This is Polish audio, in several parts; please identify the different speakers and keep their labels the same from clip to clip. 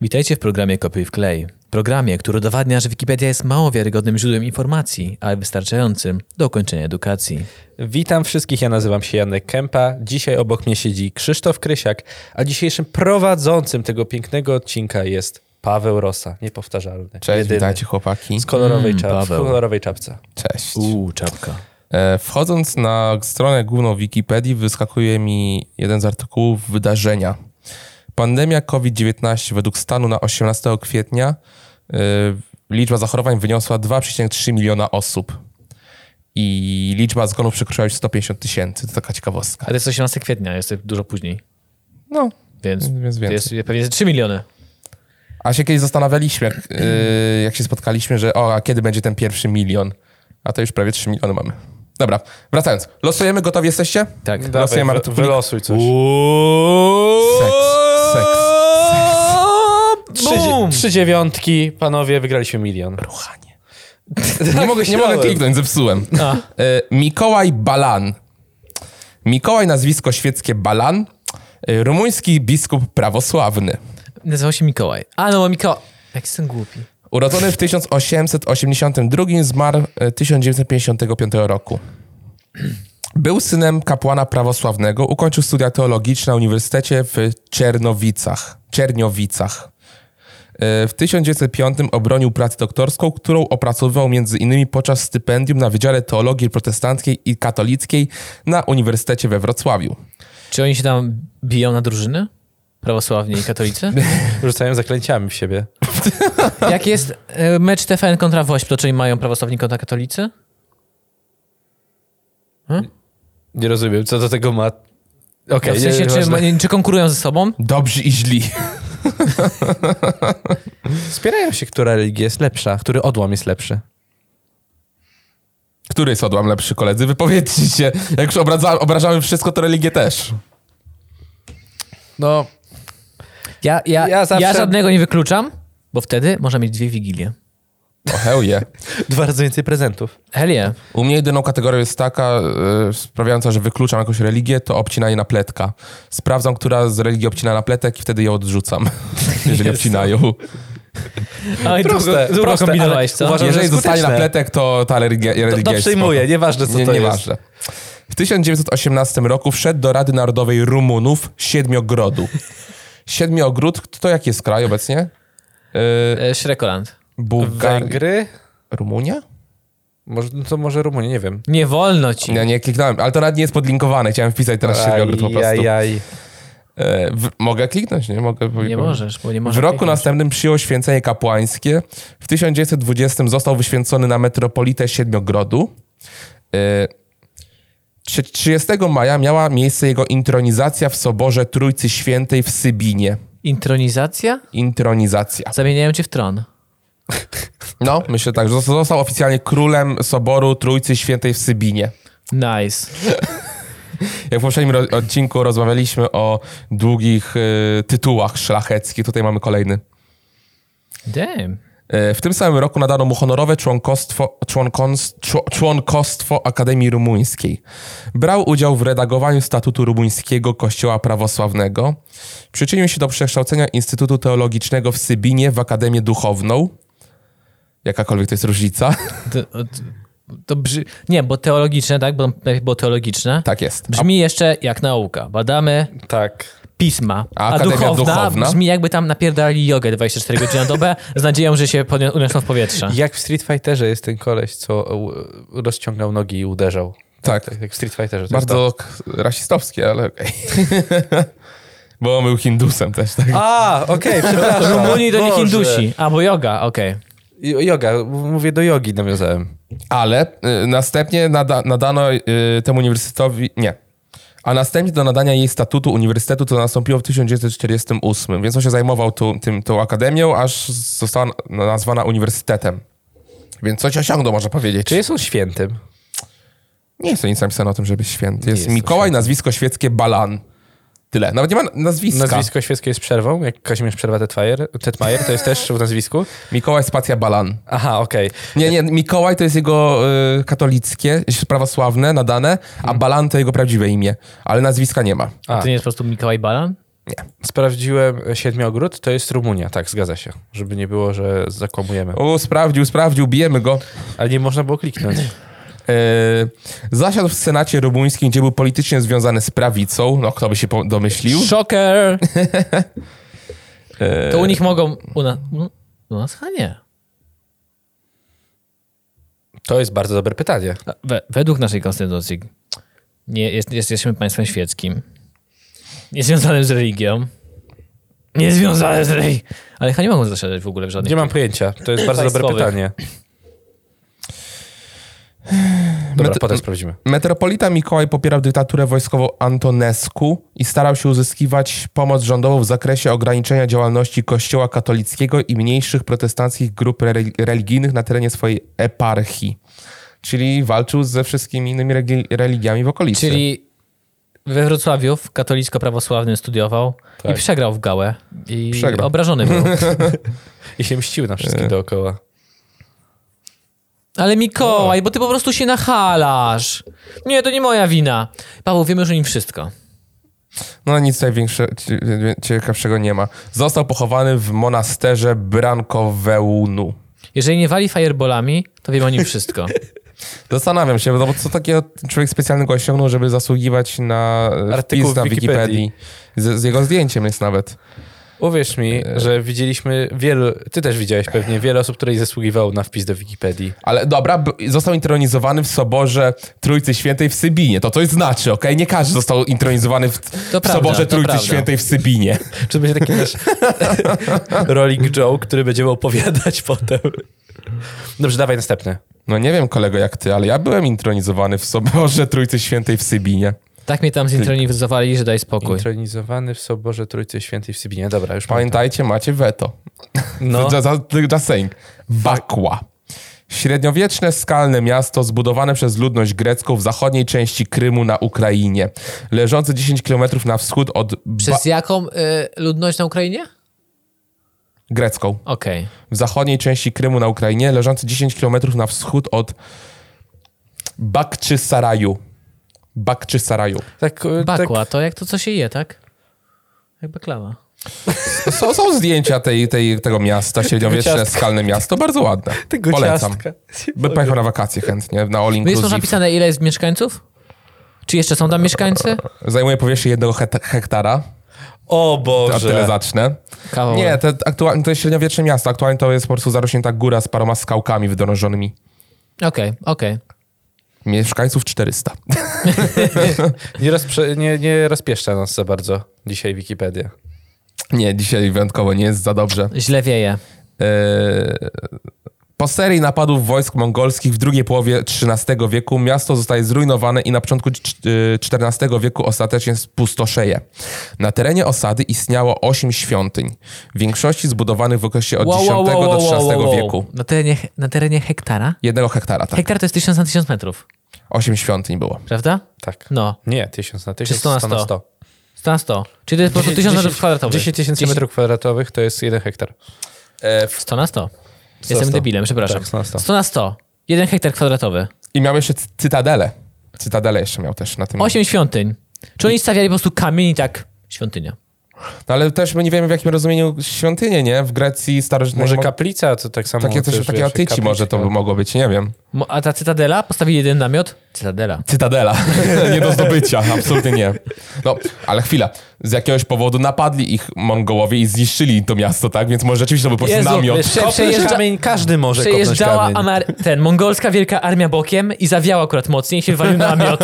Speaker 1: Witajcie w programie Kopiuj w klej. Programie, który udowadnia, że Wikipedia jest mało wiarygodnym źródłem informacji, ale wystarczającym do ukończenia edukacji.
Speaker 2: Witam wszystkich, ja nazywam się Janek Kępa. Dzisiaj obok mnie siedzi Krzysztof Krysiak, a dzisiejszym prowadzącym tego pięknego odcinka jest Paweł Rosa, niepowtarzalny.
Speaker 3: Cześć,
Speaker 2: jedyny,
Speaker 3: witajcie chłopaki.
Speaker 2: Z kolorowej,
Speaker 1: Mm,
Speaker 2: czap- w
Speaker 1: Paweł.
Speaker 2: kolorowej czapce.
Speaker 3: Cześć.
Speaker 1: Uuu, czapka.
Speaker 3: E, Wchodząc na stronę główną Wikipedii wyskakuje mi jeden z artykułów wydarzenia. Pandemia COVID-19 według stanu na 18 kwietnia e, liczba zachorowań wyniosła 2,3 miliona osób. I liczba zgonów przekroczyła już 150 tysięcy. To taka ciekawostka.
Speaker 1: Ale to jest 18 kwietnia, jest dużo później,
Speaker 3: No,
Speaker 1: więc
Speaker 3: jest
Speaker 1: to
Speaker 3: więcej.
Speaker 1: jest pewnie 3 miliony.
Speaker 3: A się kiedyś zastanawialiśmy, jak, y, jak się spotkaliśmy, że o, a kiedy będzie ten pierwszy milion? A to już prawie 3 miliony mamy. Dobra, wracając. Losujemy, gotowi jesteście?
Speaker 1: Tak.
Speaker 3: Losujemy
Speaker 2: Dawaj, wy-
Speaker 3: artykuł.
Speaker 2: Wylosuj coś.
Speaker 3: Seks, seks,
Speaker 2: Trzy,
Speaker 1: Boom!
Speaker 2: trzy dziewiątki, panowie, wygraliśmy milion. Ruchanie.
Speaker 3: Nie mogę, nie mogę kliknąć, zepsułem.
Speaker 1: A.
Speaker 3: Y, Mikołaj Balan. Mikołaj, nazwisko świeckie Balan. Y, Rumuński biskup prawosławny.
Speaker 1: Nazywał się Mikołaj. A no, Mikołaj. Jak jestem głupi.
Speaker 3: Urodzony w 1882, zmarł e, 1955 roku. Był synem kapłana prawosławnego, ukończył studia teologiczne na Uniwersytecie w Czernowicach. Czerniowicach. E, W 1905 obronił pracę doktorską, którą opracowywał między innymi podczas stypendium na Wydziale Teologii Protestanckiej i Katolickiej na Uniwersytecie we Wrocławiu.
Speaker 1: Czy oni się tam biją na drużyny? Prawosławni i katolicy?
Speaker 2: Rzucają zaklęciami w siebie.
Speaker 1: Jak jest e, mecz TFN kontra Wośp, to czy oni mają prawosławni kontra katolicy?
Speaker 2: Nie rozumiem, co do tego ma... Okej,
Speaker 1: No, w
Speaker 2: e, nie-
Speaker 1: sensie, czy,
Speaker 2: nieważne.
Speaker 1: czy konkurują ze sobą?
Speaker 3: Dobrzy i źli.
Speaker 2: Spierają się, która religia jest lepsza, który odłam jest lepszy.
Speaker 3: Który jest odłam lepszy, koledzy? Wypowiedzcie się. Jak już obradza- obrażamy wszystko, to religię też.
Speaker 2: No,
Speaker 1: Ja, ja,
Speaker 2: Ja
Speaker 1: ja,
Speaker 2: zawsze-
Speaker 1: żadnego nie wykluczam, bo wtedy można mieć dwie wigilie.
Speaker 3: O hell yeah.
Speaker 2: dwa razy więcej prezentów.
Speaker 1: Hell yeah.
Speaker 3: U mnie jedyną kategorią jest taka, y, sprawiająca, że wykluczam jakąś religię, to obcinanie napletka. Sprawdzam, która z religii obcina napletek i wtedy ją odrzucam, jeżeli obcinają.
Speaker 1: Ale
Speaker 2: Proste,
Speaker 1: dużo
Speaker 2: proste,
Speaker 1: kombinowałeś,
Speaker 2: ale
Speaker 1: co?
Speaker 2: uważam,
Speaker 3: Jeżeli
Speaker 2: skuteczne.
Speaker 3: zostanie napletek, to ta religia, religia
Speaker 2: To, to
Speaker 3: jest
Speaker 2: przyjmuję,
Speaker 3: spoko.
Speaker 2: nieważne co
Speaker 3: nie,
Speaker 2: to jest.
Speaker 3: nieważne. W 1918 roku wszedł do Rady Narodowej Rumunów Siedmiogrodu. Siedmiogród, to jaki jest kraj obecnie? Y,
Speaker 1: E, Shrekoland.
Speaker 3: Bułgaria.
Speaker 2: Węgry?
Speaker 3: Rumunia?
Speaker 2: Może, no to może Rumunii, nie wiem.
Speaker 1: Nie wolno ci.
Speaker 3: Nie, nie kliknąłem, ale to nawet nie jest podlinkowane. Chciałem wpisać teraz Siedmiogród po prostu.
Speaker 2: Aj, aj.
Speaker 3: E, w, mogę kliknąć, nie? Mogę
Speaker 1: Nie
Speaker 3: powiedzieć.
Speaker 1: możesz, bo nie możesz.
Speaker 3: W roku
Speaker 1: kliknąć.
Speaker 3: następnym przyjął święcenie kapłańskie. W 1920 został wyświęcony na metropolitę Siedmiogrodu. E, trze- 30 maja miała miejsce jego intronizacja w Soborze Trójcy Świętej w Sybinie.
Speaker 1: Intronizacja?
Speaker 3: Intronizacja.
Speaker 1: Zamieniają cię w tron.
Speaker 3: No, myślę tak, że zosta- został oficjalnie królem Soboru Trójcy Świętej w Sybinie.
Speaker 1: Nice.
Speaker 3: Jak w poprzednim ro- odcinku rozmawialiśmy o długich y, tytułach szlacheckich, tutaj mamy kolejny.
Speaker 1: Damn.
Speaker 3: E, W tym samym roku nadano mu honorowe członkostwo, członkons, czło- członkostwo Akademii Rumuńskiej. Brał udział w redagowaniu statutu rumuńskiego Kościoła Prawosławnego. Przyczynił się do przekształcenia Instytutu Teologicznego w Sybinie w Akademię Duchowną. Jakakolwiek to jest różnica.
Speaker 1: To, to, to brzy... Nie, bo teologiczne, tak? Bo najpierw było teologiczne.
Speaker 3: Tak jest. A,
Speaker 1: Brzmi jeszcze jak nauka. Badamy
Speaker 2: Tak.
Speaker 1: pisma.
Speaker 3: A
Speaker 1: A
Speaker 3: Akademia
Speaker 1: duchowna,
Speaker 3: Duchowna?
Speaker 1: brzmi jakby tam napierdali jogę 24 godziny na dobę z nadzieją, że się podnią- uniosą w powietrze.
Speaker 2: Jak w Street Fighterze jest ten koleś, co e, rozciągał nogi i uderzał.
Speaker 3: tak.
Speaker 2: Tak jak w Street Fighterze. To Jest
Speaker 3: Bardzo k- rasistowskie, ale okej. Bo on był Hindusem też, tak?
Speaker 2: to. A, okej, przepraszam.
Speaker 1: Rumunii to nie
Speaker 2: Boże.
Speaker 1: Hindusi. A, bo joga, okej.
Speaker 2: Jo- Joga, m- mówię do jogi nawiązałem.
Speaker 3: Ale y, następnie nada, nadano y, temu uniwersytetowi. Nie. A następnie do nadania jej statutu uniwersytetu to nastąpiło w 1948, więc on się zajmował tu, tym, tą akademią, aż została na- nazwana uniwersytetem. Więc coś osiągnął, można powiedzieć.
Speaker 2: Czy jest on świętym?
Speaker 3: Nie jest to nic napisane o tym, żeby święty. Jest,
Speaker 2: jest to
Speaker 3: Mikołaj, nazwisko świeckie Balan. Tyle. Nawet nie ma nazwiska.
Speaker 2: Nazwisko świeckie jest przerwą, jak Kazimierz przerwa Tetmajer, Tetmajer to jest też w nazwisku?
Speaker 3: Mikołaj Spacja Balan.
Speaker 2: Aha, okej.
Speaker 3: Nie, nie, Mikołaj to jest jego y, katolickie, prawosławne, nadane, a Balan to jego prawdziwe imię, ale nazwiska nie ma.
Speaker 1: A
Speaker 2: A.
Speaker 1: Tak. to nie jest po prostu Mikołaj Balan?
Speaker 2: Sprawdziłem Siedmiogród, to jest Rumunia. Tak, zgadza się. Żeby nie było, że zakłamujemy.
Speaker 3: O, sprawdził, sprawdził, bijemy go.
Speaker 2: Ale nie można było kliknąć.
Speaker 3: E, zasiadł w Senacie rumuńskim, gdzie był politycznie związany z prawicą. No, kto by się po- domyślił?
Speaker 1: Shocker! to u nich mogą... U, na, u, u nas chyba nie.
Speaker 2: To jest bardzo dobre pytanie.
Speaker 1: A We, według naszej konstytucji nie, jest, jest, jesteśmy państwem świeckim, niezwiązanym z religią, niezwiązanym z religią, ale chyba nie mogą zasiadać w ogóle w żadnych...
Speaker 2: Nie mam pojęcia. To jest bardzo dobre
Speaker 1: Państwowych.
Speaker 2: pytanie. Dobra,
Speaker 3: Met-
Speaker 2: potem sprawdzimy.
Speaker 3: Metropolita Mikołaj popierał dyktaturę wojskową Antonescu i starał się uzyskiwać pomoc rządową w zakresie ograniczenia działalności Kościoła katolickiego i mniejszych protestanckich grup re- religijnych na terenie swojej eparchii. Czyli walczył ze wszystkimi innymi regi- religiami w okolicy.
Speaker 1: Czyli we Wrocławiu w katolicko-prawosławnym studiował i
Speaker 2: Tak.
Speaker 1: przegrał w gałę i
Speaker 3: Przegrał.
Speaker 1: obrażony był.
Speaker 2: I się mścił na wszystkich dookoła.
Speaker 1: Ale
Speaker 3: No.
Speaker 1: Mikołaj, bo ty po prostu się nachalasz. Nie, to nie moja wina. Paweł, wiemy już o nim wszystko.
Speaker 3: No nic tutaj większe, cie- ciekawszego nie ma. Został pochowany w monasterze Brankowełnu.
Speaker 1: Jeżeli nie wali fireballami, to wiemy o nim wszystko.
Speaker 3: Zastanawiam się, no bo co takiego człowiek specjalnego osiągnął, żeby zasługiwać na e,
Speaker 2: Artykuł
Speaker 3: wpis
Speaker 2: w
Speaker 3: na
Speaker 2: Wikipedii.
Speaker 3: Wikipedii. Z, z jego zdjęciem jest nawet.
Speaker 2: Uwierz mi, że widzieliśmy wielu, ty też widziałeś pewnie wiele osób, które zasługiwało na wpis do Wikipedii.
Speaker 3: Ale dobra, b- został intronizowany w soborze Trójcy Świętej w Sybinie. To coś znaczy, okej? Nie każdy został intronizowany w, w
Speaker 1: prawda,
Speaker 3: soborze
Speaker 1: to
Speaker 3: Trójcy
Speaker 1: prawda.
Speaker 3: Świętej w Sybinie.
Speaker 2: Czy to będzie taki nasz rolling joke, który będziemy opowiadać potem? Dobrze, dawaj następny.
Speaker 3: No nie wiem, kolego, jak ty, ale ja byłem intronizowany w soborze Trójcy Świętej w Sybinie.
Speaker 1: Tak mnie tam zintronizowali, że daj spokój.
Speaker 2: Intronizowany w Soborze Trójcy Świętej w Sybinie. Dobra, już pamiętam.
Speaker 3: Pamiętajcie, macie weto.
Speaker 2: No,
Speaker 3: Just, just, just saying. Bakła. Średniowieczne skalne miasto zbudowane przez ludność grecką w zachodniej części Krymu na Ukrainie, leżące 10 km na wschód od ba-
Speaker 1: Przez jaką y, ludność na Ukrainie?
Speaker 3: grecką.
Speaker 1: Okej.
Speaker 3: W zachodniej części Krymu na Ukrainie, leżące 10 km na wschód od Bakczysaraju. Bakczysaraju.
Speaker 2: tak,
Speaker 3: y,
Speaker 2: e, tak,
Speaker 1: Bakła, to jak to co się je, tak? Jak baklawa. No
Speaker 3: Są, są zdjęcia tej, tej, tego miasta, średniowieczne
Speaker 2: ciastka.
Speaker 3: skalne miasto, bardzo ładne.
Speaker 2: tego
Speaker 3: Polecam.
Speaker 2: ciastka.
Speaker 3: Bym pojechał na wakacje chętnie, na All
Speaker 1: No jest już
Speaker 3: Inclusive.
Speaker 1: napisane, ile jest mieszkańców? Czy jeszcze są tam mieszkańcy?
Speaker 3: Zajmuje powierzchnię jednego hekta- hektara.
Speaker 2: O
Speaker 3: A tyle
Speaker 2: Boże.
Speaker 3: zacznę.
Speaker 1: Kawał.
Speaker 3: Nie, te, aktualnie, to jest średniowieczne miasto. Aktualnie to jest po prostu zarośnięta góra z paroma skałkami wydrążonymi.
Speaker 1: Okej, okej.
Speaker 3: Mieszkańców 400.
Speaker 2: Nie, rozprze- nie, nie rozpieszcza nas za bardzo dzisiaj Wikipedia.
Speaker 3: Nie, dzisiaj wyjątkowo nie jest za dobrze.
Speaker 1: Źle wieje.
Speaker 3: Eee, po serii napadów wojsk mongolskich w drugiej połowie XIII wieku miasto zostaje zrujnowane i na początku cz- y, XIV wieku ostatecznie spustoszeje. Na terenie osady istniało 8 świątyń, w większości zbudowanych w okresie od X do XIII wieku.
Speaker 1: Na terenie, na terenie hektara?
Speaker 3: Jednego hektara, tak.
Speaker 1: Hektar to jest 1000 na 1000 metrów,
Speaker 3: 8 świątyń było.
Speaker 1: prawda?
Speaker 2: Tak.
Speaker 1: No,
Speaker 2: Nie, 1000 na 1000,
Speaker 1: 100 na
Speaker 2: 100 na 100.
Speaker 1: 100 na 100. Czyli to jest po prostu 1000 metrów kwadratowych.
Speaker 2: 10 tysięcy metrów kwadratowych to jest jeden hektar.
Speaker 3: E, No
Speaker 1: 100 na 100. Jestem
Speaker 2: 100.
Speaker 1: debilem, przepraszam.
Speaker 2: Tak, 100 na 100.
Speaker 1: 100 na 100. 1 hektar kwadratowy.
Speaker 3: I miał jeszcze cy- cytadelę. Cytadelę jeszcze miał też
Speaker 2: No.
Speaker 3: na tym.
Speaker 1: 8 świątyń. Czy oni stawiali po prostu kamień i tak świątynia?
Speaker 3: No, ale też my nie wiemy w jakim rozumieniu świątynie, nie? W Grecji starożytnej...
Speaker 2: Może
Speaker 3: mo-
Speaker 2: kaplica to tak samo.
Speaker 3: Takie
Speaker 2: też,
Speaker 3: no, coś, no. takie
Speaker 2: wiesz,
Speaker 3: atyci
Speaker 2: kapliczka.
Speaker 3: może to by mogło być, nie wiem.
Speaker 1: Mo- A ta cytadela? Postawili jeden namiot? Cytadela.
Speaker 3: Cytadela. nie do zdobycia, absolutnie nie. No, ale chwila. Z jakiegoś powodu napadli ich Mongołowie i zniszczyli to miasto, tak? Więc może rzeczywiście to był po prostu
Speaker 1: Jezu,
Speaker 3: namiot.
Speaker 1: wiesz, prze-
Speaker 2: Kopnąć
Speaker 1: przejeżdża-
Speaker 2: kamień, każdy może kopnąć
Speaker 1: Przejeżdżała
Speaker 2: kamień.
Speaker 1: Amer- ten, mongolska wielka armia bokiem i zawiała akurat mocniej i się walił namiot.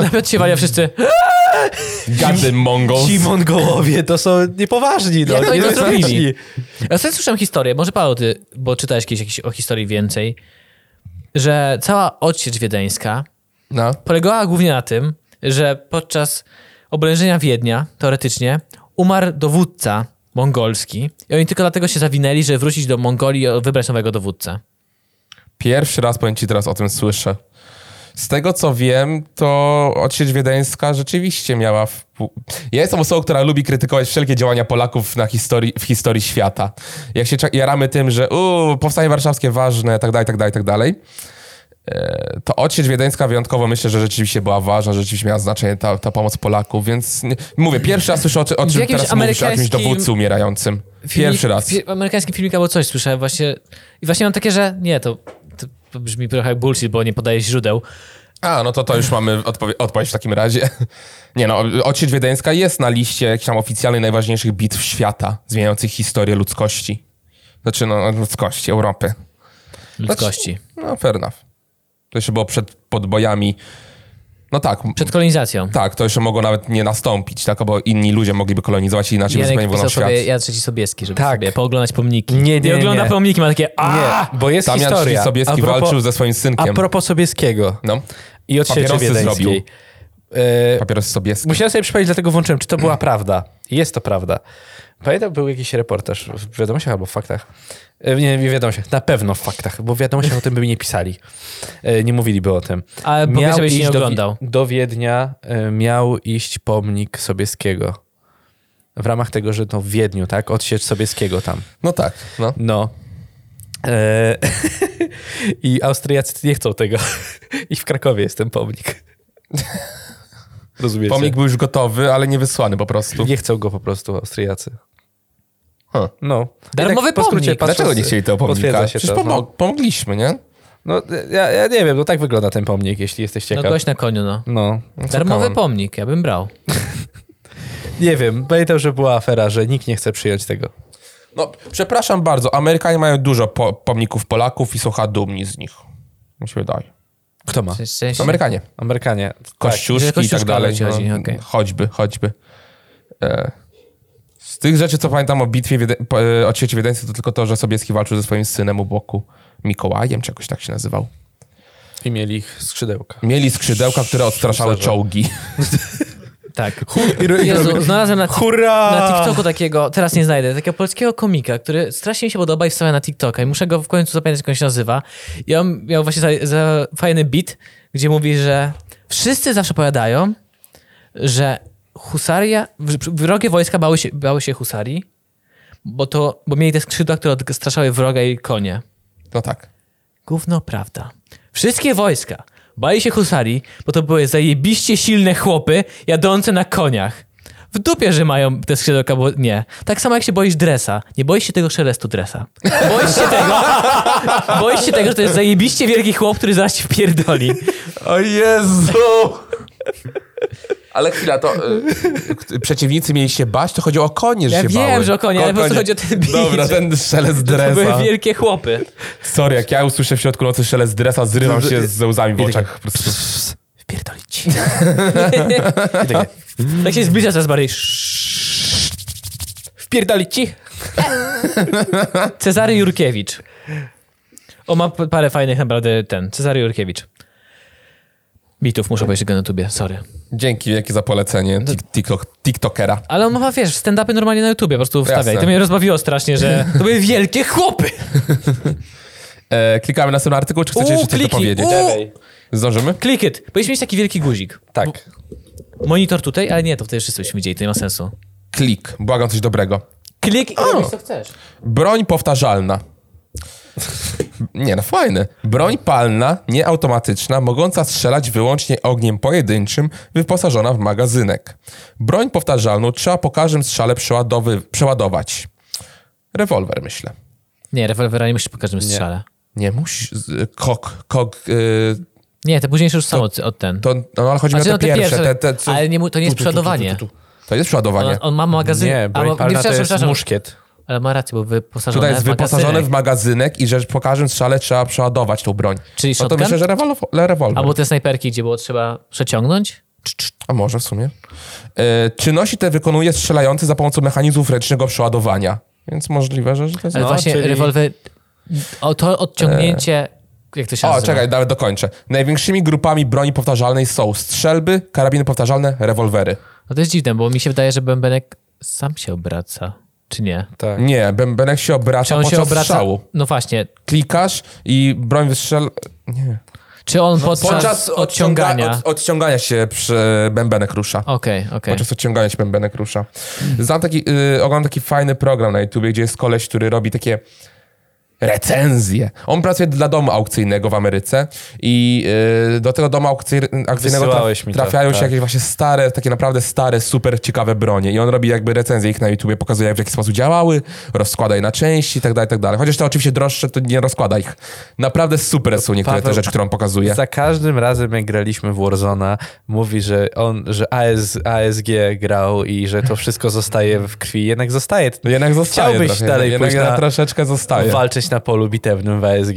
Speaker 1: Namiot się walia wszyscy.
Speaker 3: Gadym Mongols.
Speaker 2: Ci Mongołowie to są niepoważni. No,
Speaker 1: Jak oni to
Speaker 2: niebezpieczni.
Speaker 1: zrobili? Ja sobie słyszałem historię, może Paweł, ty, bo czytałeś kiedyś jakiś, o historii więcej, że cała odsiecz wiedeńska
Speaker 3: No.
Speaker 1: polegała głównie na tym, że podczas oblężenia Wiednia, teoretycznie, umarł dowódca mongolski i oni tylko dlatego się zawinęli, że wrócić do Mongolii i wybrać nowego dowódcę.
Speaker 3: Pierwszy raz powiem ci teraz o tym słyszę. Z tego co wiem, to odsiedź wiedeńska rzeczywiście miała. wpł- Ja jestem osobą, która lubi krytykować wszelkie działania Polaków na historii, w historii świata. Jak się cza- jaramy tym, że u, powstanie warszawskie ważne, tak dalej, tak dalej, tak dalej. E, To odsiecz wiedeńska wyjątkowo myślę, że rzeczywiście była ważna, że rzeczywiście miała znaczenie ta, ta pomoc Polaków, więc nie, mówię, pierwszy raz słyszę o, czy- o czym
Speaker 1: jakimś
Speaker 3: teraz mówisz, o jakimś
Speaker 1: amerykańskim
Speaker 3: dowódcy umierającym. Pierwszy raz.
Speaker 1: W amerykańskim filmiku albo coś słyszałem właśnie. I właśnie mam takie, że nie, to, to, to brzmi trochę jak bullshit, bo nie podaje źródeł.
Speaker 3: A, no to to już mamy odpowie- odpowiedź w takim razie. Nie no, odsiecz wiedeńska jest na liście jakichś tam oficjalnych najważniejszych bitw świata, zmieniających historię ludzkości. Znaczy, no, ludzkości, Europy.
Speaker 1: Ludzkości.
Speaker 3: No, fair enough. To jeszcze było przed podbojami. No tak,
Speaker 1: Przed kolonizacją.
Speaker 3: tak, to jeszcze mogło nawet nie nastąpić, tak, bo inni ludzie mogliby kolonizować i inaczej by
Speaker 2: no
Speaker 1: Janek
Speaker 3: zupełnie
Speaker 1: pisał
Speaker 3: wolno świat.
Speaker 1: sobie Jan Trzeci Sobieski, żeby
Speaker 2: Tak.
Speaker 1: sobie pooglądać pomniki.
Speaker 2: Nie, nie,
Speaker 1: ogląda
Speaker 2: nie.
Speaker 1: pomniki, ma takie a
Speaker 2: Nie, bo jest
Speaker 3: Tam Jan
Speaker 2: historia.
Speaker 3: Krzysztof Sobieski
Speaker 2: A propos-
Speaker 3: walczył ze swoim
Speaker 2: A
Speaker 3: synkiem.
Speaker 2: propos Sobieskiego
Speaker 3: No,
Speaker 2: i od sieczy
Speaker 3: Papierosy
Speaker 2: wiedeńskiej.
Speaker 3: zrobił.
Speaker 2: E,
Speaker 3: papieros Sobieski.
Speaker 2: Musiałem sobie przypomnieć, dlatego włączyłem, czy to była prawda. Jest to prawda. Pamiętam, był jakiś reportaż w wiadomościach albo w faktach. E, Nie, nie w wiadomościach, na pewno w faktach, bo w wiadomościach o tym by mi nie pisali. E, Nie mówiliby o tym.
Speaker 1: Ale bo wiesz, żebyś nie
Speaker 2: do, Wi-
Speaker 1: oglądał.
Speaker 2: do Wiednia, e, miał iść pomnik Sobieskiego. W ramach tego, że no w Wiedniu, tak? Odsiecz Sobieskiego tam.
Speaker 3: No tak, no.
Speaker 2: No. E, I Austriacy nie chcą tego. I w Krakowie jest ten pomnik. Rozumiecie?
Speaker 3: Pomnik był już gotowy, ale nie wysłany po prostu.
Speaker 2: Nie chcą go po prostu Austriacy.
Speaker 3: Huh.
Speaker 2: No.
Speaker 1: Darmowy
Speaker 2: Jednak po skrócie
Speaker 1: pomnik.
Speaker 2: patrząc,
Speaker 3: Dlaczego nie chcieli tego pomnika?
Speaker 2: potwierdza się
Speaker 3: Przecież
Speaker 2: to,
Speaker 3: pomog- pomogliśmy, nie?
Speaker 2: No, no ja, ja nie wiem, no tak wygląda ten pomnik, jeśli jesteś
Speaker 1: No
Speaker 2: ciekaw.
Speaker 1: gość na koniu, no.
Speaker 2: No.
Speaker 1: Darmowy pomnik, ja bym brał.
Speaker 2: Nie wiem, pamiętam, że była afera, że nikt nie chce przyjąć tego.
Speaker 3: No, przepraszam bardzo, Amerykanie mają dużo po- pomników Polaków i są chyba dumni z nich. Mi się wydaje.
Speaker 2: Kto ma?
Speaker 1: W sensie-
Speaker 3: Amerykanie.
Speaker 2: No. Tak, Amerykanie.
Speaker 3: Kościuszki
Speaker 1: że
Speaker 3: i tak
Speaker 1: Kościuszka
Speaker 3: dalej.
Speaker 1: leci, chodzi, okej.
Speaker 3: Choćby, choćby. E, z tych rzeczy, co pamiętam o bitwie Wiede- po- e, o Cieci Wiedeńskiej, to tylko to, że Sobieski walczył ze swoim synem u boku. Mikołajem, czy jakoś tak się nazywał.
Speaker 2: I mieli ich skrzydełka.
Speaker 3: Mieli skrzydełka, które odstraszały
Speaker 2: Szarze.
Speaker 3: czołgi.
Speaker 1: Tak. Jezu, znalazłem na, na TikToku takiego, teraz nie znajdę, takiego polskiego komika, który strasznie mi się podoba i wstawia na TikToka i muszę go w końcu zapamiętać, jak on się nazywa. I on miał właśnie za, za fajny beat, gdzie mówi, że wszyscy zawsze powiadają, że husaria, że wrogie wojska bały się, bały się husarii, bo, to, bo mieli te skrzydła, które odstraszały wroga i konie.
Speaker 3: No tak.
Speaker 1: Gówno prawda. Wszystkie wojska bali się husarii, bo to były zajebiście silne chłopy jadące na koniach. W dupie, że mają te skrzydełka, bo nie. Tak samo jak się boisz dresa. Nie boisz się tego szelestu dresa. Boisz się tego, boisz się tego że to jest zajebiście wielki chłop, który zaraz ci wpierdoli.
Speaker 3: O Jezu! Ale chwila, to y, przeciwnicy mieli się bać, to chodziło o konie, że
Speaker 1: Ja
Speaker 3: się
Speaker 1: wiem,
Speaker 3: bały.
Speaker 1: że o konie, ale po prostu chodzi o ten beat,
Speaker 3: Dobra,
Speaker 1: że-
Speaker 3: ten szelest
Speaker 1: To
Speaker 3: dresa.
Speaker 1: były wielkie chłopy.
Speaker 3: Sorry, jak ja usłyszę w środku nocy szelest dresa, zrywam się ze łzami w oczach. Po prostu.
Speaker 1: Wpierdolić ci. tak się zbliża coraz bardziej. Wpierdolić ci. Cezary Jurkiewicz. O, ma p- parę fajnych naprawdę ten. Cezary Jurkiewicz. Bitów muszę powiedzieć go na tubie, sorry.
Speaker 3: Dzięki wielkie za polecenie tik- TikTok, TikTokera.
Speaker 1: Ale on ma, wiesz, stand-upy normalnie na YouTubie, po prostu wstawia. I to
Speaker 3: Jasne.
Speaker 1: mnie rozbawiło strasznie, że to były wielkie chłopy.
Speaker 3: E, klikamy na następny artykuł, czy chcecie
Speaker 1: U,
Speaker 3: jeszcze coś
Speaker 1: kliki,
Speaker 3: dopowiedzieć?
Speaker 1: u.
Speaker 3: Zdążymy?
Speaker 1: Click it. Powinieneś mieć taki wielki guzik.
Speaker 2: Tak.
Speaker 1: Monitor tutaj, ale nie, to wtedy wszyscy byśmy widzieli, to nie ma sensu.
Speaker 3: Klik, błagam coś dobrego.
Speaker 1: Klik i robisz co chcesz.
Speaker 3: Broń powtarzalna. Nie no, fajne. Broń palna, nieautomatyczna, mogąca strzelać wyłącznie ogniem pojedynczym, wyposażona w magazynek. Broń powtarzalną trzeba po każdym strzale przeładowy- przeładować. Rewolwer, myślę.
Speaker 1: Nie, rewolwera nie musisz po każdym strzale.
Speaker 3: Nie musi. z- Kok, kok. y,
Speaker 1: Nie, te późniejsze już są od, od ten.
Speaker 3: to, no, ale chodzi mi o
Speaker 1: Znaczy,
Speaker 3: te
Speaker 1: no, te
Speaker 3: pierwsze.
Speaker 1: pierwsze,
Speaker 3: Te, te, co-
Speaker 1: ale nie mu- to nie jest
Speaker 3: tu, tu, tu, tu, tu,
Speaker 1: przodowanie.
Speaker 3: tu, tu. To jest przodowanie.
Speaker 1: on, on ma magazyn.
Speaker 2: Nie,
Speaker 1: a,
Speaker 2: broń
Speaker 1: ma-
Speaker 2: palna to
Speaker 1: przepraszam,
Speaker 2: jest
Speaker 1: przepraszam.
Speaker 2: muszkiet.
Speaker 1: Ale ma rację, bo wyposażone
Speaker 3: Tutaj jest
Speaker 1: no, w magazynek.
Speaker 3: wyposażony w magazynek i że po każdym strzale trzeba przeładować tą broń.
Speaker 1: Czyli
Speaker 3: no to
Speaker 1: shotgun?
Speaker 3: myślę, że rewolwer. rewolwer.
Speaker 1: Albo te snajperki, gdzie było trzeba przeciągnąć.
Speaker 3: A może w sumie. E, czynności te wykonuje strzelający za pomocą mechanizmów ręcznego przeładowania. Więc możliwe, że że to jest...
Speaker 1: Ale
Speaker 2: No,
Speaker 1: właśnie
Speaker 2: czyli-
Speaker 1: rewolwer... O, to odciągnięcie... Jak to się
Speaker 3: E. O,
Speaker 1: nazywa?
Speaker 3: czekaj, nawet dokończę. Największymi grupami broni powtarzalnej są strzelby, karabiny powtarzalne, rewolwery.
Speaker 1: No to jest dziwne, bo mi się wydaje, że bębenek sam się obraca. Czy nie?
Speaker 2: Tak.
Speaker 3: Nie, bębenek się
Speaker 1: Czy
Speaker 3: obraca
Speaker 1: on
Speaker 3: podczas
Speaker 1: się obraca...
Speaker 3: strzału.
Speaker 1: No właśnie.
Speaker 3: Klikasz i broń wystrzela... Nie.
Speaker 1: Czy on podczas,
Speaker 3: No, Podczas
Speaker 1: odciągania...
Speaker 3: odciąga- Od, odciągania się przy bębenek rusza.
Speaker 1: Okej, okej.
Speaker 3: Podczas odciągania się bębenek rusza. y, Znam taki, yy, oglądam taki fajny program na YouTubie, gdzie jest koleś, który robi takie recenzje. On pracuje dla domu aukcyjnego w Ameryce i yy, do tego domu aukcy- aukcyjnego
Speaker 2: Wysyłałeś mi to,
Speaker 3: trafiają się
Speaker 2: tak.
Speaker 3: jakieś właśnie stare, takie naprawdę stare, super ciekawe bronie i on robi jakby recenzje ich na YouTubie, pokazuje jak w jaki sposób działały, rozkłada je na części i tak dalej, i tak dalej. Chociaż te oczywiście droższe, to nie rozkłada ich. Naprawdę super są niektóre te
Speaker 2: Paweł-
Speaker 3: rzeczy, które on pokazuje.
Speaker 2: Za każdym razem, jak graliśmy w Warzona, mówi, że on, że AS, ASG grał i że to wszystko zostaje w krwi. Jednak zostaje.
Speaker 3: No Jednak zostaje
Speaker 2: Chciałbyś
Speaker 3: trochę,
Speaker 2: dalej
Speaker 3: jednak
Speaker 2: pójść
Speaker 3: ja
Speaker 2: na-
Speaker 3: troszeczkę zostaje.
Speaker 2: Walczyć na polu bitewnym w ASG.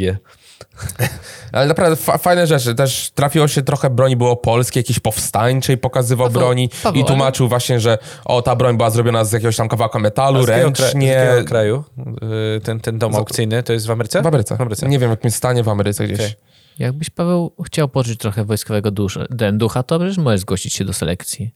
Speaker 3: Ale naprawdę fa- fajne rzeczy. Też trafiło się trochę broni, było polskie, jakieś powstańczej pokazywał
Speaker 1: Paweł-
Speaker 3: broni
Speaker 1: Paweł,
Speaker 3: i tłumaczył właśnie, że o, ta broń była zrobiona z jakiegoś tam kawałka metalu,
Speaker 2: Z jakiego kra- Z
Speaker 3: ręcznie.
Speaker 2: jakiego kraju? Y, Ten, ten dom aukcyjny, to jest w Ameryce?
Speaker 3: W Ameryce. Nie wiem, w jakim stanie w Ameryce gdzieś.
Speaker 2: Okej.
Speaker 1: Jakbyś, Paweł, chciał poczuć trochę wojskowego dusz, den ducha, to przecież możesz zgłosić się do selekcji.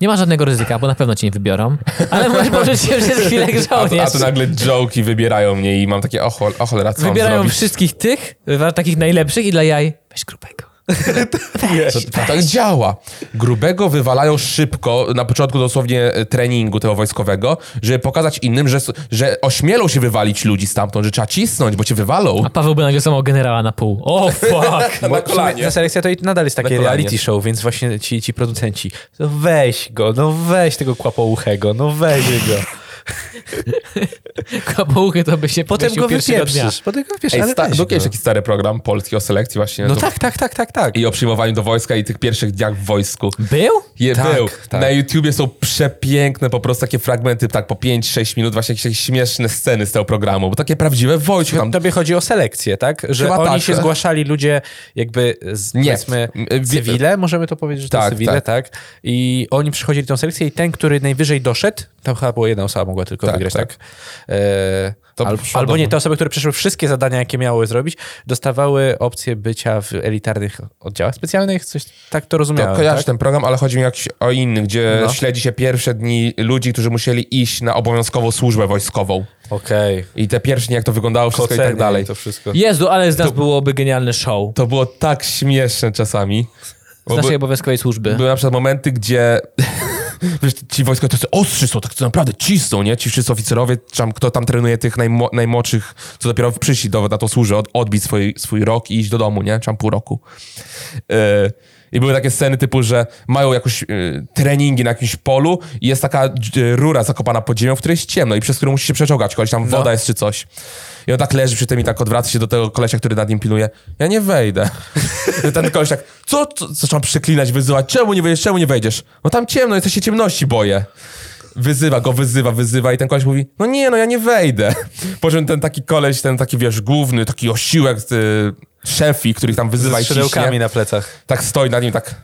Speaker 1: Nie ma żadnego ryzyka, bo na pewno cię nie wybiorą, ale możesz poczuć się przez chwilę jak
Speaker 3: A, tu- a
Speaker 1: żołnierz.
Speaker 3: tu nagle joke'i wybierają mnie i mam takie, o, chol- o cholera, co mam
Speaker 1: Wybierają
Speaker 3: zrobić?
Speaker 1: wszystkich tych, wa- takich najlepszych i dla jaj weź grubego.
Speaker 3: To, to tak działa. Grubego wywalają szybko, na początku dosłownie e, treningu tego wojskowego, żeby pokazać innym, że, s- że ośmielą się wywalić ludzi stamtąd, że trzeba cisnąć, bo cię wywalą.
Speaker 1: A Paweł by nagle samą generała na pół. O, fuck!
Speaker 3: na
Speaker 2: W sumie Ta selekcja to i nadal jest
Speaker 3: Na
Speaker 2: takie
Speaker 3: kolanie.
Speaker 2: reality show, więc właśnie ci, ci producenci, no weź go, no weź tego kłapouchego, no weź go.
Speaker 1: Kapołuchy to by się
Speaker 2: Potem
Speaker 1: powiesił
Speaker 2: go
Speaker 1: pierwszego dnia.
Speaker 2: wypieprzysz. Potem go wypieprzysz,
Speaker 3: Ej,
Speaker 2: ale
Speaker 3: sta-
Speaker 2: weź
Speaker 3: był kiedyś
Speaker 2: go.
Speaker 3: taki stary program polski o selekcji właśnie.
Speaker 2: No
Speaker 3: to-
Speaker 2: tak, tak, tak, tak, tak.
Speaker 3: I o przyjmowaniu do wojska i tych pierwszych dniach w wojsku.
Speaker 1: Był?
Speaker 3: Je,
Speaker 2: Tak,
Speaker 3: był.
Speaker 2: tak.
Speaker 3: Na YouTubie są przepiękne po prostu takie fragmenty, tak po 5-6 minut, właśnie jakieś, jakieś śmieszne sceny z tego programu, bo takie prawdziwe wojsko. Tam,
Speaker 2: Tobie chodzi o selekcję, tak? Że
Speaker 3: Chyba
Speaker 2: oni
Speaker 3: tak.
Speaker 2: się zgłaszali ludzie jakby z,
Speaker 3: Nie.
Speaker 2: powiedzmy
Speaker 3: Wie-
Speaker 2: cywile, możemy to powiedzieć, że to
Speaker 3: Tak,
Speaker 2: cywile, tak. I oni przychodzili tą selekcję i ten, który najwyżej doszedł, tam chyba była jedna osoba mogła tylko
Speaker 3: Tak,
Speaker 2: wygrać,
Speaker 3: tak.
Speaker 2: tak? E,
Speaker 3: To
Speaker 2: al,
Speaker 3: przyszło
Speaker 2: albo
Speaker 3: do-
Speaker 2: nie, te osoby, które przeszły wszystkie zadania, jakie miały zrobić, dostawały opcję bycia w elitarnych oddziałach specjalnych, coś tak to
Speaker 3: to
Speaker 2: rozumiałem,
Speaker 3: kojarzę
Speaker 2: tak?
Speaker 3: ten program, ale chodzi mi jakiś o inny, gdzie
Speaker 2: No.
Speaker 3: śledzi się pierwsze dni ludzi, którzy musieli iść na obowiązkową służbę wojskową.
Speaker 2: tak? Okej.
Speaker 3: I te pierwsze dni, jak to wyglądało wszystko i tak
Speaker 2: Kocenie
Speaker 3: dalej.
Speaker 2: To wszystko.
Speaker 1: Jezu, ale z nas byłoby genialne show.
Speaker 3: To było tak śmieszne czasami.
Speaker 1: Z
Speaker 3: Bo
Speaker 1: naszej
Speaker 3: by-
Speaker 1: obowiązkowej służby.
Speaker 3: Były na przykład momenty, gdzie wiesz, ci wojska tacy ostrzy są, tak co naprawdę cisną, nie? Ci wszyscy oficerowie, czy tam, kto tam trenuje tych najmo, najmłodszych, co dopiero przyszli do, na to służy, od, odbić swój, swój rok i iść do domu, nie? Czy tam pół roku. E, I były takie sceny typu, że mają jakieś e, treningi na jakimś polu i jest taka dż- e, rura zakopana pod ziemią, w której jest ciemno i przez którą musi się przeczołgać, koleś
Speaker 2: No.
Speaker 3: tam woda jest czy coś. I on tak leży przy tym i tak odwraca się do tego kolesia, który nad nim pilnuje. Ja nie wejdę. I Ten koleś tak, co? co? Zaczął przeklinać, wyzywać. Czemu nie wejdziesz? Czemu nie wejdziesz? No tam ciemno, jest, ja się ciemności boję. Wyzywa go, wyzywa, wyzywa i ten koleś mówi, no nie, no ja nie wejdę. Po czym ten taki koleś, ten taki, wiesz, główny, taki osiłek, y, szefi, których tam wyzywa
Speaker 2: Z
Speaker 3: i ciśnie.
Speaker 2: skrzydełkami na plecach.
Speaker 3: Tak stoi nad nim, tak.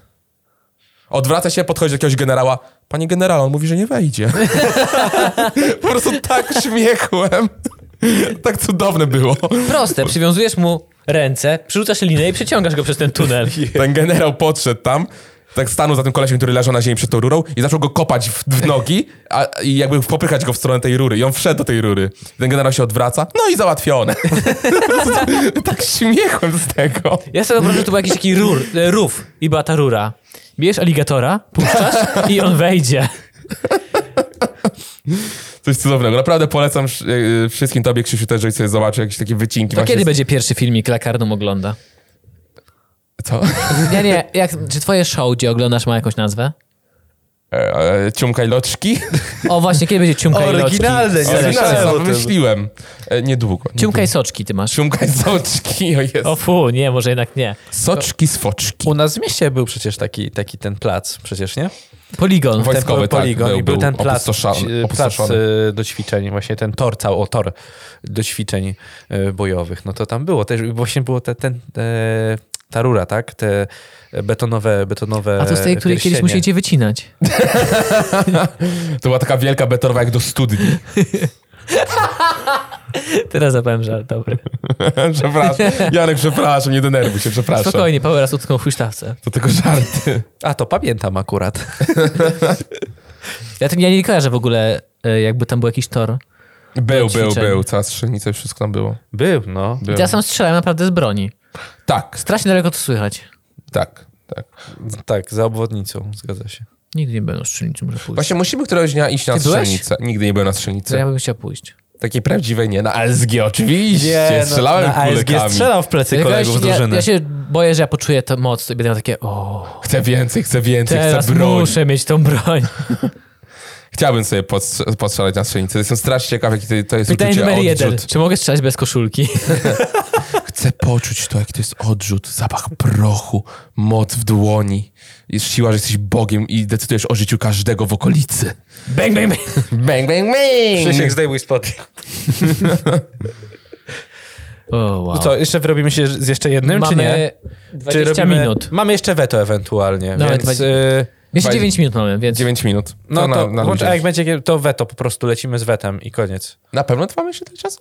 Speaker 3: Odwraca się, podchodzi do jakiegoś generała. Panie generał, on mówi, że nie wejdzie. po prostu tak śmiechłem. tak cudowne było.
Speaker 1: Proste, przywiązujesz mu ręce, przerzucasz linę i przeciągasz go przez ten tunel.
Speaker 3: Ten generał podszedł tam, tak stanął za tym kolesiem, który leżał na ziemi przed tą rurą i zaczął go kopać w, w nogi a, i jakby popychać go w stronę tej rury. I on wszedł do tej rury. Ten generał się odwraca, no i załatwione. tak śmiechłem z tego.
Speaker 1: Ja sobie wyobrażam, że to był jakiś taki rur, e, rów i była ta rura. Bierzesz aligatora, puszczasz i on wejdzie.
Speaker 3: Coś cudownego. Naprawdę polecam wsz- yy, wszystkim tobie, Krzysiu, też, żebyś sobie zobaczył jakieś takie wycinki.
Speaker 1: To
Speaker 3: właśnie
Speaker 1: kiedy
Speaker 3: z-
Speaker 1: będzie pierwszy filmik Lakarnum ogląda?
Speaker 3: Co?
Speaker 1: Nie, nie, jak, czy twoje show, gdzie oglądasz, ma jakąś nazwę?
Speaker 3: E, e, Ciumka i loczki?
Speaker 1: O właśnie, kiedy będzie Ciumka i Loczki?
Speaker 2: Oryginalne, nie?
Speaker 1: Selekcja.
Speaker 2: Oryginalne.
Speaker 3: Oryginalnie,
Speaker 2: myślałem o
Speaker 3: sam
Speaker 2: tym.
Speaker 3: wymyśliłem. E, niedługo.
Speaker 1: Ciumka i Soczki ty masz.
Speaker 3: Ciumka i soczki, o jest.
Speaker 1: O fu, nie, może jednak nie.
Speaker 3: Soczki z foczki.
Speaker 2: U nas w mieście był przecież taki, taki ten plac, przecież nie?
Speaker 1: Poligon.
Speaker 3: Wojsko- Wojskowy,
Speaker 2: ten po-
Speaker 3: tak,
Speaker 2: poligon
Speaker 3: był,
Speaker 2: i był,
Speaker 3: był
Speaker 2: ten plac,
Speaker 3: opustoszony-
Speaker 2: y, plac
Speaker 3: opustoszony.
Speaker 2: y, do ćwiczeń, właśnie ten tor, cał, o tor do ćwiczeń y, bojowych. No to tam było też, i właśnie było te, ten, e, ta rura, tak? Te betonowe, betonowe
Speaker 1: A to z tej, której kiedyś
Speaker 2: pierścienie.
Speaker 1: musieliście wycinać.
Speaker 3: To była taka wielka betonowa jak do studni.
Speaker 1: Teraz zapałem żart, dobry.
Speaker 3: przepraszam. Janek, przepraszam, nie denerwuj się, przepraszam.
Speaker 1: Spokojnie, Paweł raz utknął w huśtawce.
Speaker 3: To tylko żarty.
Speaker 2: A to pamiętam akurat.
Speaker 1: Ja, tym, ja nie kojarzę w ogóle, e, jakby tam był jakiś tor.
Speaker 3: Był, był,
Speaker 1: ćwiczeń.
Speaker 3: był. Cała strzelnica, wszystko tam było.
Speaker 2: Był, no.
Speaker 3: Był.
Speaker 1: Ja sam strzelałem naprawdę z broni.
Speaker 3: Tak,
Speaker 1: Strasznie daleko to słychać.
Speaker 3: tak, tak.
Speaker 2: Tak, za obwodnicą, zgadza się.
Speaker 1: Nigdy nie będę strzelnicy, może pójść.
Speaker 3: Właśnie musimy któregoś dnia iść na
Speaker 1: Ty byłeś?
Speaker 3: strzelnicę. Nigdy nie byłem na
Speaker 1: To
Speaker 3: strzelnicy.
Speaker 1: ja bym chciał pójść.
Speaker 3: Takiej prawdziwej nie, na ASG oczywiście,
Speaker 1: no,
Speaker 3: strzelałem
Speaker 2: No, na ASG
Speaker 3: kulekami.
Speaker 2: strzelał w plecy
Speaker 1: Jak ja,
Speaker 2: kolegów
Speaker 1: się- ja,
Speaker 2: drużyny.
Speaker 1: ja się boję, że ja poczuję tę moc i będę miał takie o,
Speaker 3: Chcę więcej, chcę więcej,
Speaker 1: teraz
Speaker 3: chcę broń.
Speaker 1: muszę mieć tą broń.
Speaker 3: Chciałbym sobie podstrze- podstrzelać na strzelnicy. Jestem strasznie ciekaw, jakie to- to jest
Speaker 1: Pytanie
Speaker 3: uczucie
Speaker 1: numer
Speaker 3: odrzut.
Speaker 1: jeden. Czy mogę strzelać bez koszulki?
Speaker 3: Chcę poczuć to, jaki to jest odrzut, zapach prochu, moc w dłoni. Jest siła, że jesteś Bogiem i decydujesz o życiu każdego w okolicy.
Speaker 1: bang, bang, bang.
Speaker 3: Bang, bang, bang!
Speaker 2: Krzysiek, zdejmuj spodnie.
Speaker 1: O, wow.
Speaker 2: To No jeszcze wyrobimy się z jeszcze jednym,
Speaker 1: No Mamy
Speaker 2: No czy nie? Czy
Speaker 1: 20
Speaker 2: robimy-
Speaker 1: minut.
Speaker 2: Mamy jeszcze weto ewentualnie,
Speaker 1: Dawaj,
Speaker 2: więc...
Speaker 1: dwa-
Speaker 2: y,
Speaker 1: Jeszcze
Speaker 3: Fajnie.
Speaker 1: 9 minut mamy, więc
Speaker 3: 9 minut.
Speaker 2: No to, włącz,
Speaker 3: ludzie.
Speaker 2: a jak będzie to weto, po prostu lecimy z wetem i koniec.
Speaker 3: na pewno trwa jeszcze tyle czasu?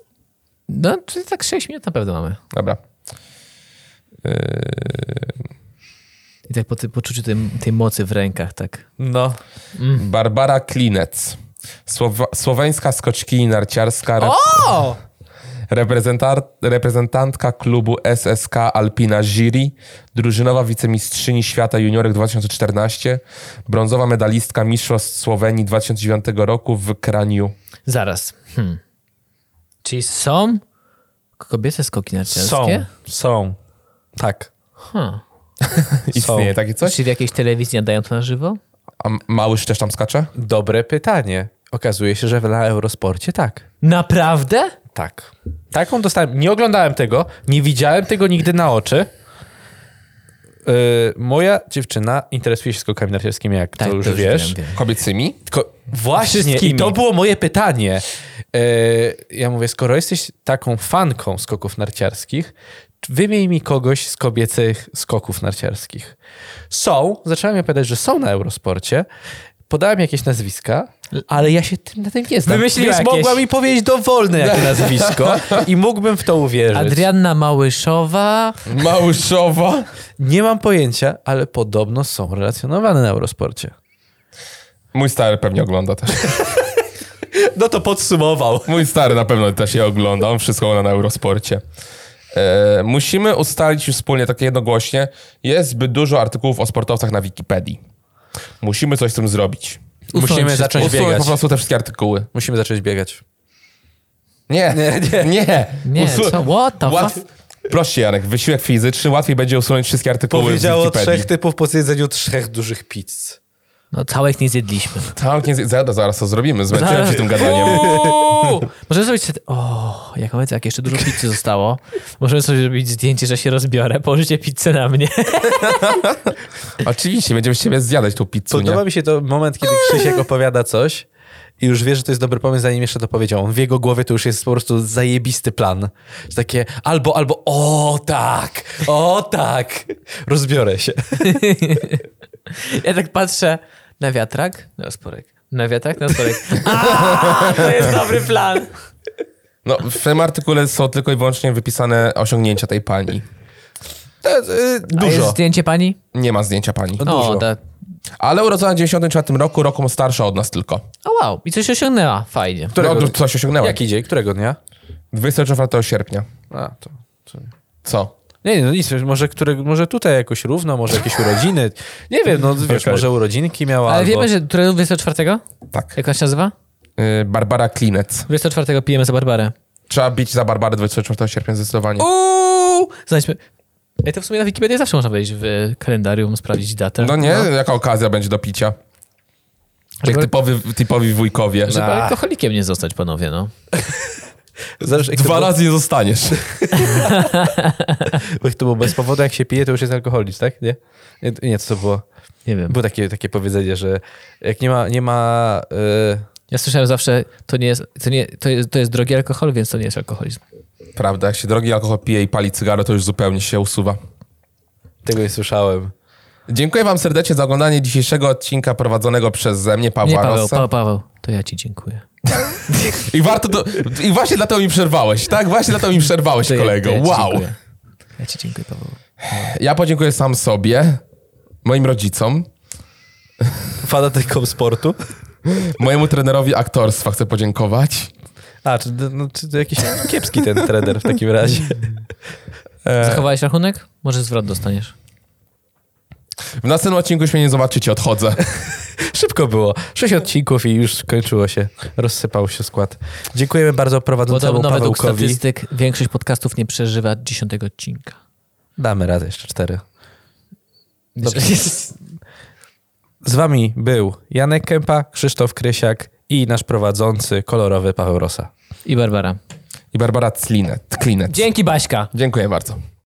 Speaker 1: no, czyli tak 6 minut na pewno mamy.
Speaker 3: Dobra. Yy,
Speaker 1: I tak po ty, poczuciu tej, tej mocy w rękach, tak.
Speaker 2: No.
Speaker 3: Barbara Klinec. Słowa, słoweńska skoczkini narciarska, rep,
Speaker 1: O!
Speaker 3: reprezentar- reprezentantka klubu SSK Alpina Giri, drużynowa wicemistrzyni świata juniorek 2014, brązowa medalistka Mistrzostw Słowenii 2009 roku w Kraniu.
Speaker 1: Zaraz. Hmm. Czyli są kobiece skoki
Speaker 2: Są.
Speaker 1: narciarskie?
Speaker 2: Są. Tak.
Speaker 1: Huh.
Speaker 3: Istnieje takie coś?
Speaker 1: Czy w jakiejś telewizji nadają to na żywo?
Speaker 3: A Małysz też tam skacze?
Speaker 2: Dobre pytanie. Okazuje się, że na Eurosporcie tak.
Speaker 1: Naprawdę?
Speaker 2: Tak. Taką dostałem. Nie oglądałem tego, nie widziałem tego nigdy na oczy. Yy, moja dziewczyna interesuje się skokami narciarskimi, jak to już wiesz.
Speaker 1: Tak, wiem, wiem.
Speaker 3: Kobiecymi?
Speaker 2: Ko- właśnie,
Speaker 1: Wszystkimi.
Speaker 2: i to było moje pytanie. E, ja mówię, skoro jesteś taką fanką skoków narciarskich, wymień mi kogoś z kobiecych skoków narciarskich. Są, zaczęłam mi opowiadać, że są na Eurosporcie, podałem jakieś nazwiska, ale ja się tym, na tym nie znam.
Speaker 1: Wymyśliła
Speaker 2: Więc
Speaker 1: jakieś.
Speaker 2: mogła mi powiedzieć dowolne jakie nazwisko i mógłbym w to uwierzyć.
Speaker 1: Adrianna Małyszowa.
Speaker 3: Małyszowa?
Speaker 2: Nie mam pojęcia, ale podobno są relacjonowane na Eurosporcie.
Speaker 3: Mój stary pewnie ogląda też.
Speaker 2: No to podsumował.
Speaker 3: Mój stary na pewno też je ogląda, on wszystko ogląda na Eurosporcie. E, musimy ustalić już wspólnie, tak jednogłośnie, jest zbyt dużo artykułów o sportowcach na Wikipedii. Musimy coś z tym zrobić.
Speaker 1: Usunąć
Speaker 2: Musimy
Speaker 1: wszystko.
Speaker 2: zacząć
Speaker 3: Usunąć
Speaker 2: biegać.
Speaker 3: po prostu te wszystkie artykuły.
Speaker 2: Musimy zacząć biegać.
Speaker 3: Nie, nie, nie.
Speaker 1: Nie, co? What the
Speaker 3: Łatw...
Speaker 1: fuck?
Speaker 3: Proszę cię, Jarek, wysiłek fizyczny, łatwiej będzie usunąć wszystkie artykuły z
Speaker 2: Powiedziało
Speaker 3: Wikipedii.
Speaker 2: trzech typów po zjedzeniu trzech dużych pizz.
Speaker 1: No całych nie zjedliśmy.
Speaker 3: Całkiem z... zaraz, zaraz to zrobimy, zmęczyłem
Speaker 1: Zaraz.
Speaker 3: się tym gadaniem.
Speaker 1: Uuu! Możemy zrobić sobie... O, jak powiedzę, jak jeszcze dużo pizzy zostało. Możemy sobie zrobić zdjęcie, że się rozbiorę, położycie pizzę na mnie.
Speaker 3: Oczywiście, będziemy z ciebie zjadać tą pizzunię.
Speaker 2: Podoba mi się to moment, kiedy Krzysiek opowiada coś i już wie, że to jest dobry pomysł, zanim jeszcze to powiedział. On w jego głowie to już jest po prostu zajebisty plan. Że takie albo, albo o tak, o tak, rozbiorę się.
Speaker 3: Tak.
Speaker 1: Ja tak patrzę na wiatrak, na rozporek. Na wiatrak, na rozporek. A, to jest dobry plan.
Speaker 3: No, w tym artykule są tylko i wyłącznie wypisane osiągnięcia tej pani.
Speaker 2: To jest, y,
Speaker 1: A jest
Speaker 2: dużo. No,
Speaker 1: zdjęcie pani?
Speaker 3: Nie ma zdjęcia pani.
Speaker 1: O, tak. da.
Speaker 3: Ale urodzona w 94 roku, roku starsza od nas tylko.
Speaker 1: o wow, i coś osiągnęła, fajnie.
Speaker 2: Którego-
Speaker 3: No, coś osiągnęła.
Speaker 2: Jaki dzień? Którego dnia?
Speaker 3: 24 sierpnia.
Speaker 2: A, to... to...
Speaker 3: Co?
Speaker 2: Nie, nie, no nic, może, które, może tutaj jakoś równo, może jakieś urodziny. Nie wiem, no wiesz,
Speaker 3: Okej.
Speaker 2: może urodzinki miała.
Speaker 1: Ale
Speaker 2: albo...
Speaker 1: wiemy, że którego 24?
Speaker 3: Tak.
Speaker 1: Jak ona się nazywa?
Speaker 3: Yy, Barbara Klinec.
Speaker 1: 24 pijemy za Barbarę.
Speaker 3: Trzeba bić za Barbarę 24 sierpnia zdecydowanie.
Speaker 1: Uuu! Znajdźmy. Ej, to w sumie na Wikipedii zawsze można wejść w e, kalendarium, sprawdzić datę.
Speaker 3: No nie, jaka okazja będzie do picia. Jak
Speaker 1: Żeby-
Speaker 3: typowy, typowi wujkowie.
Speaker 1: No, Żeby
Speaker 2: Na.
Speaker 1: alkoholikiem nie zostać, panowie, no.
Speaker 2: Zależy, jak to
Speaker 3: Dwa
Speaker 2: było-
Speaker 3: razy nie zostaniesz.
Speaker 2: Bo to było bez powodu, jak się pije, to już jest alkoholizm, tak? Nie? Nie, nie co to było?
Speaker 1: Nie wiem.
Speaker 2: Było takie, takie powiedzenie, że jak nie ma, nie ma y,
Speaker 1: Ja słyszałem zawsze, to nie jest, to nie, to jest, to jest drogi alkohol, więc to nie jest alkoholizm.
Speaker 3: Prawda, jak się drogi alkohol pije i pali cygaro, to już zupełnie się usuwa.
Speaker 2: tego nie słyszałem.
Speaker 3: Dziękuję wam serdecznie za oglądanie dzisiejszego odcinka prowadzonego przez mnie,
Speaker 1: Nie,
Speaker 3: Pawła
Speaker 1: Paweł,
Speaker 3: Rossa.
Speaker 1: pa, Paweł, to ja ci dziękuję.
Speaker 3: I warto do... I właśnie dlatego mi przerwałeś, tak? Właśnie dlatego mi przerwałeś,
Speaker 1: To ja,
Speaker 3: kolego.
Speaker 1: to ja ci
Speaker 3: wow.
Speaker 1: Dziękuję. Ja ci dziękuję, Paweł.
Speaker 3: Ja podziękuję sam sobie, moim rodzicom,
Speaker 2: Fanatykom sportu?
Speaker 3: mojemu trenerowi aktorstwa chcę podziękować.
Speaker 2: A, czy, no, czy to jakiś kiepski ten trener w takim razie?
Speaker 3: E.
Speaker 2: E,
Speaker 1: Zachowałeś rachunek? Może zwrot dostaniesz.
Speaker 3: W następnym odcinku już mnie nie zobaczycie, odchodzę.
Speaker 2: Szybko było. Sześć odcinków i już skończyło się. Rozsypał się skład. Dziękujemy bardzo prowadzącemu
Speaker 1: Podobno według
Speaker 2: Pawełkowi.
Speaker 1: statystyk większość podcastów nie przeżywa dziesiątego odcinka.
Speaker 2: Damy raz jeszcze cztery. Z wami był Janek Kępa, Krzysztof Krysiak i nasz prowadzący kolorowy Paweł Rosa.
Speaker 1: I Barbara.
Speaker 3: I Barbara Clinet.
Speaker 1: Dzięki Baśka.
Speaker 3: Dziękuję bardzo.